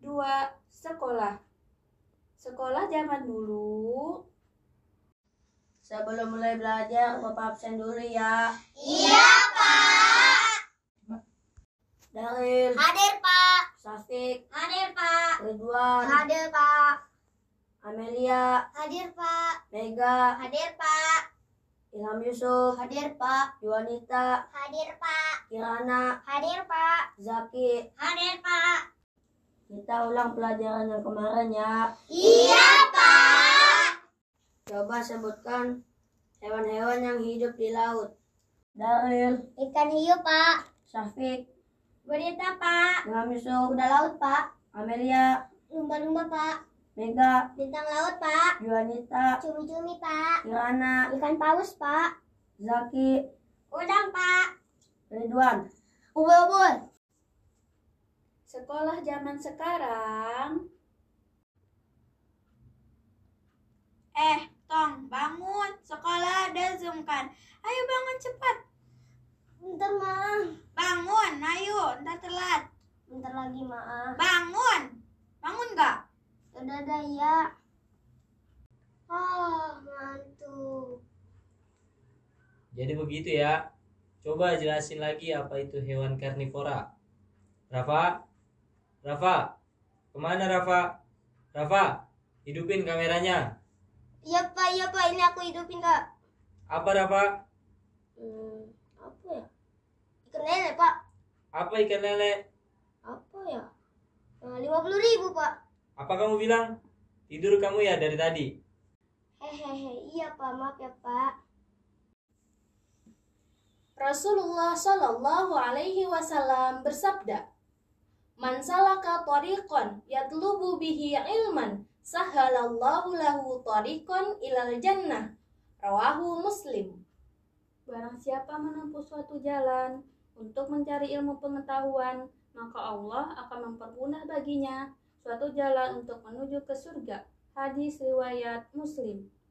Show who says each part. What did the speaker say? Speaker 1: kedua, sekolah. Sekolah zaman dulu
Speaker 2: Sebelum mulai belajar, Bapak absen dulu ya.
Speaker 3: Iya, Pak.
Speaker 2: Daryl,
Speaker 3: Hadir, Pak.
Speaker 2: Safik,
Speaker 3: Hadir, Pak.
Speaker 2: Ridwan,
Speaker 3: Hadir, Pak.
Speaker 2: Amelia,
Speaker 3: Hadir, Pak.
Speaker 2: Mega,
Speaker 3: Hadir, Pak.
Speaker 2: Ilham Yusuf,
Speaker 3: Hadir, Pak.
Speaker 2: Yuanita,
Speaker 3: Hadir, Pak.
Speaker 2: Kirana,
Speaker 3: Hadir, Pak.
Speaker 2: Zaki.
Speaker 3: Hadir, Pak.
Speaker 2: Kita ulang pelajaran yang kemarin ya.
Speaker 3: Iya, Pak.
Speaker 2: Coba sebutkan hewan-hewan yang hidup di laut. Daryl,
Speaker 3: Ikan hiu, Pak.
Speaker 2: Safik,
Speaker 3: Gurita, Pak.
Speaker 2: Ilham Yusuf,
Speaker 3: Kuda laut, Pak.
Speaker 2: Amelia,
Speaker 3: Lumba-lumba, Pak.
Speaker 2: Mega,
Speaker 3: Bintang laut, Pak.
Speaker 2: Yuanita,
Speaker 3: Cumi-cumi, Pak.
Speaker 2: Kirana,
Speaker 3: Ikan paus, Pak.
Speaker 2: Zaki,
Speaker 3: Udang, Pak.
Speaker 2: Ridwan.
Speaker 3: Ubur-ubur.
Speaker 1: Sekolah zaman sekarang. Eh, Tong, bangun. Sekolah ada Zoom kan. Ayo bangun cepat.
Speaker 3: Bentar, Ma.
Speaker 1: Bangun, ayo. Ntar telat.
Speaker 3: Bentar lagi, Ma.
Speaker 1: Bangun. Bangun gak?
Speaker 3: Udah dah ya. Ah, mantu.
Speaker 4: Jadi begitu ya. Coba jelasin lagi apa itu hewan karnivora. Rafa? Rafa? Kemana Rafa? Rafa? Hidupin kameranya.
Speaker 3: Iya, Pak, iya, Pak. Ini aku hidupin, Kak.
Speaker 4: Apa Rafa?
Speaker 3: Hmm, apa ya? Ikan lele, Pak.
Speaker 4: Apa ikan lele?
Speaker 3: Apa ya? Lima puluh ribu, Pak.
Speaker 4: Apa kamu bilang? Tidur kamu ya dari tadi.
Speaker 3: Hehehe, iya, Pak. Maaf ya, Pak.
Speaker 1: Rasulullah Shallallahu Alaihi Wasallam bersabda, "Man salaka tariqan yatlubu bihi ilman, sahalallahu lahu tariqan ilal jannah." Rawahu Muslim. Barang siapa menempuh suatu jalan untuk mencari ilmu pengetahuan, maka Allah akan mempermudah baginya suatu jalan untuk menuju ke surga. Hadis riwayat Muslim.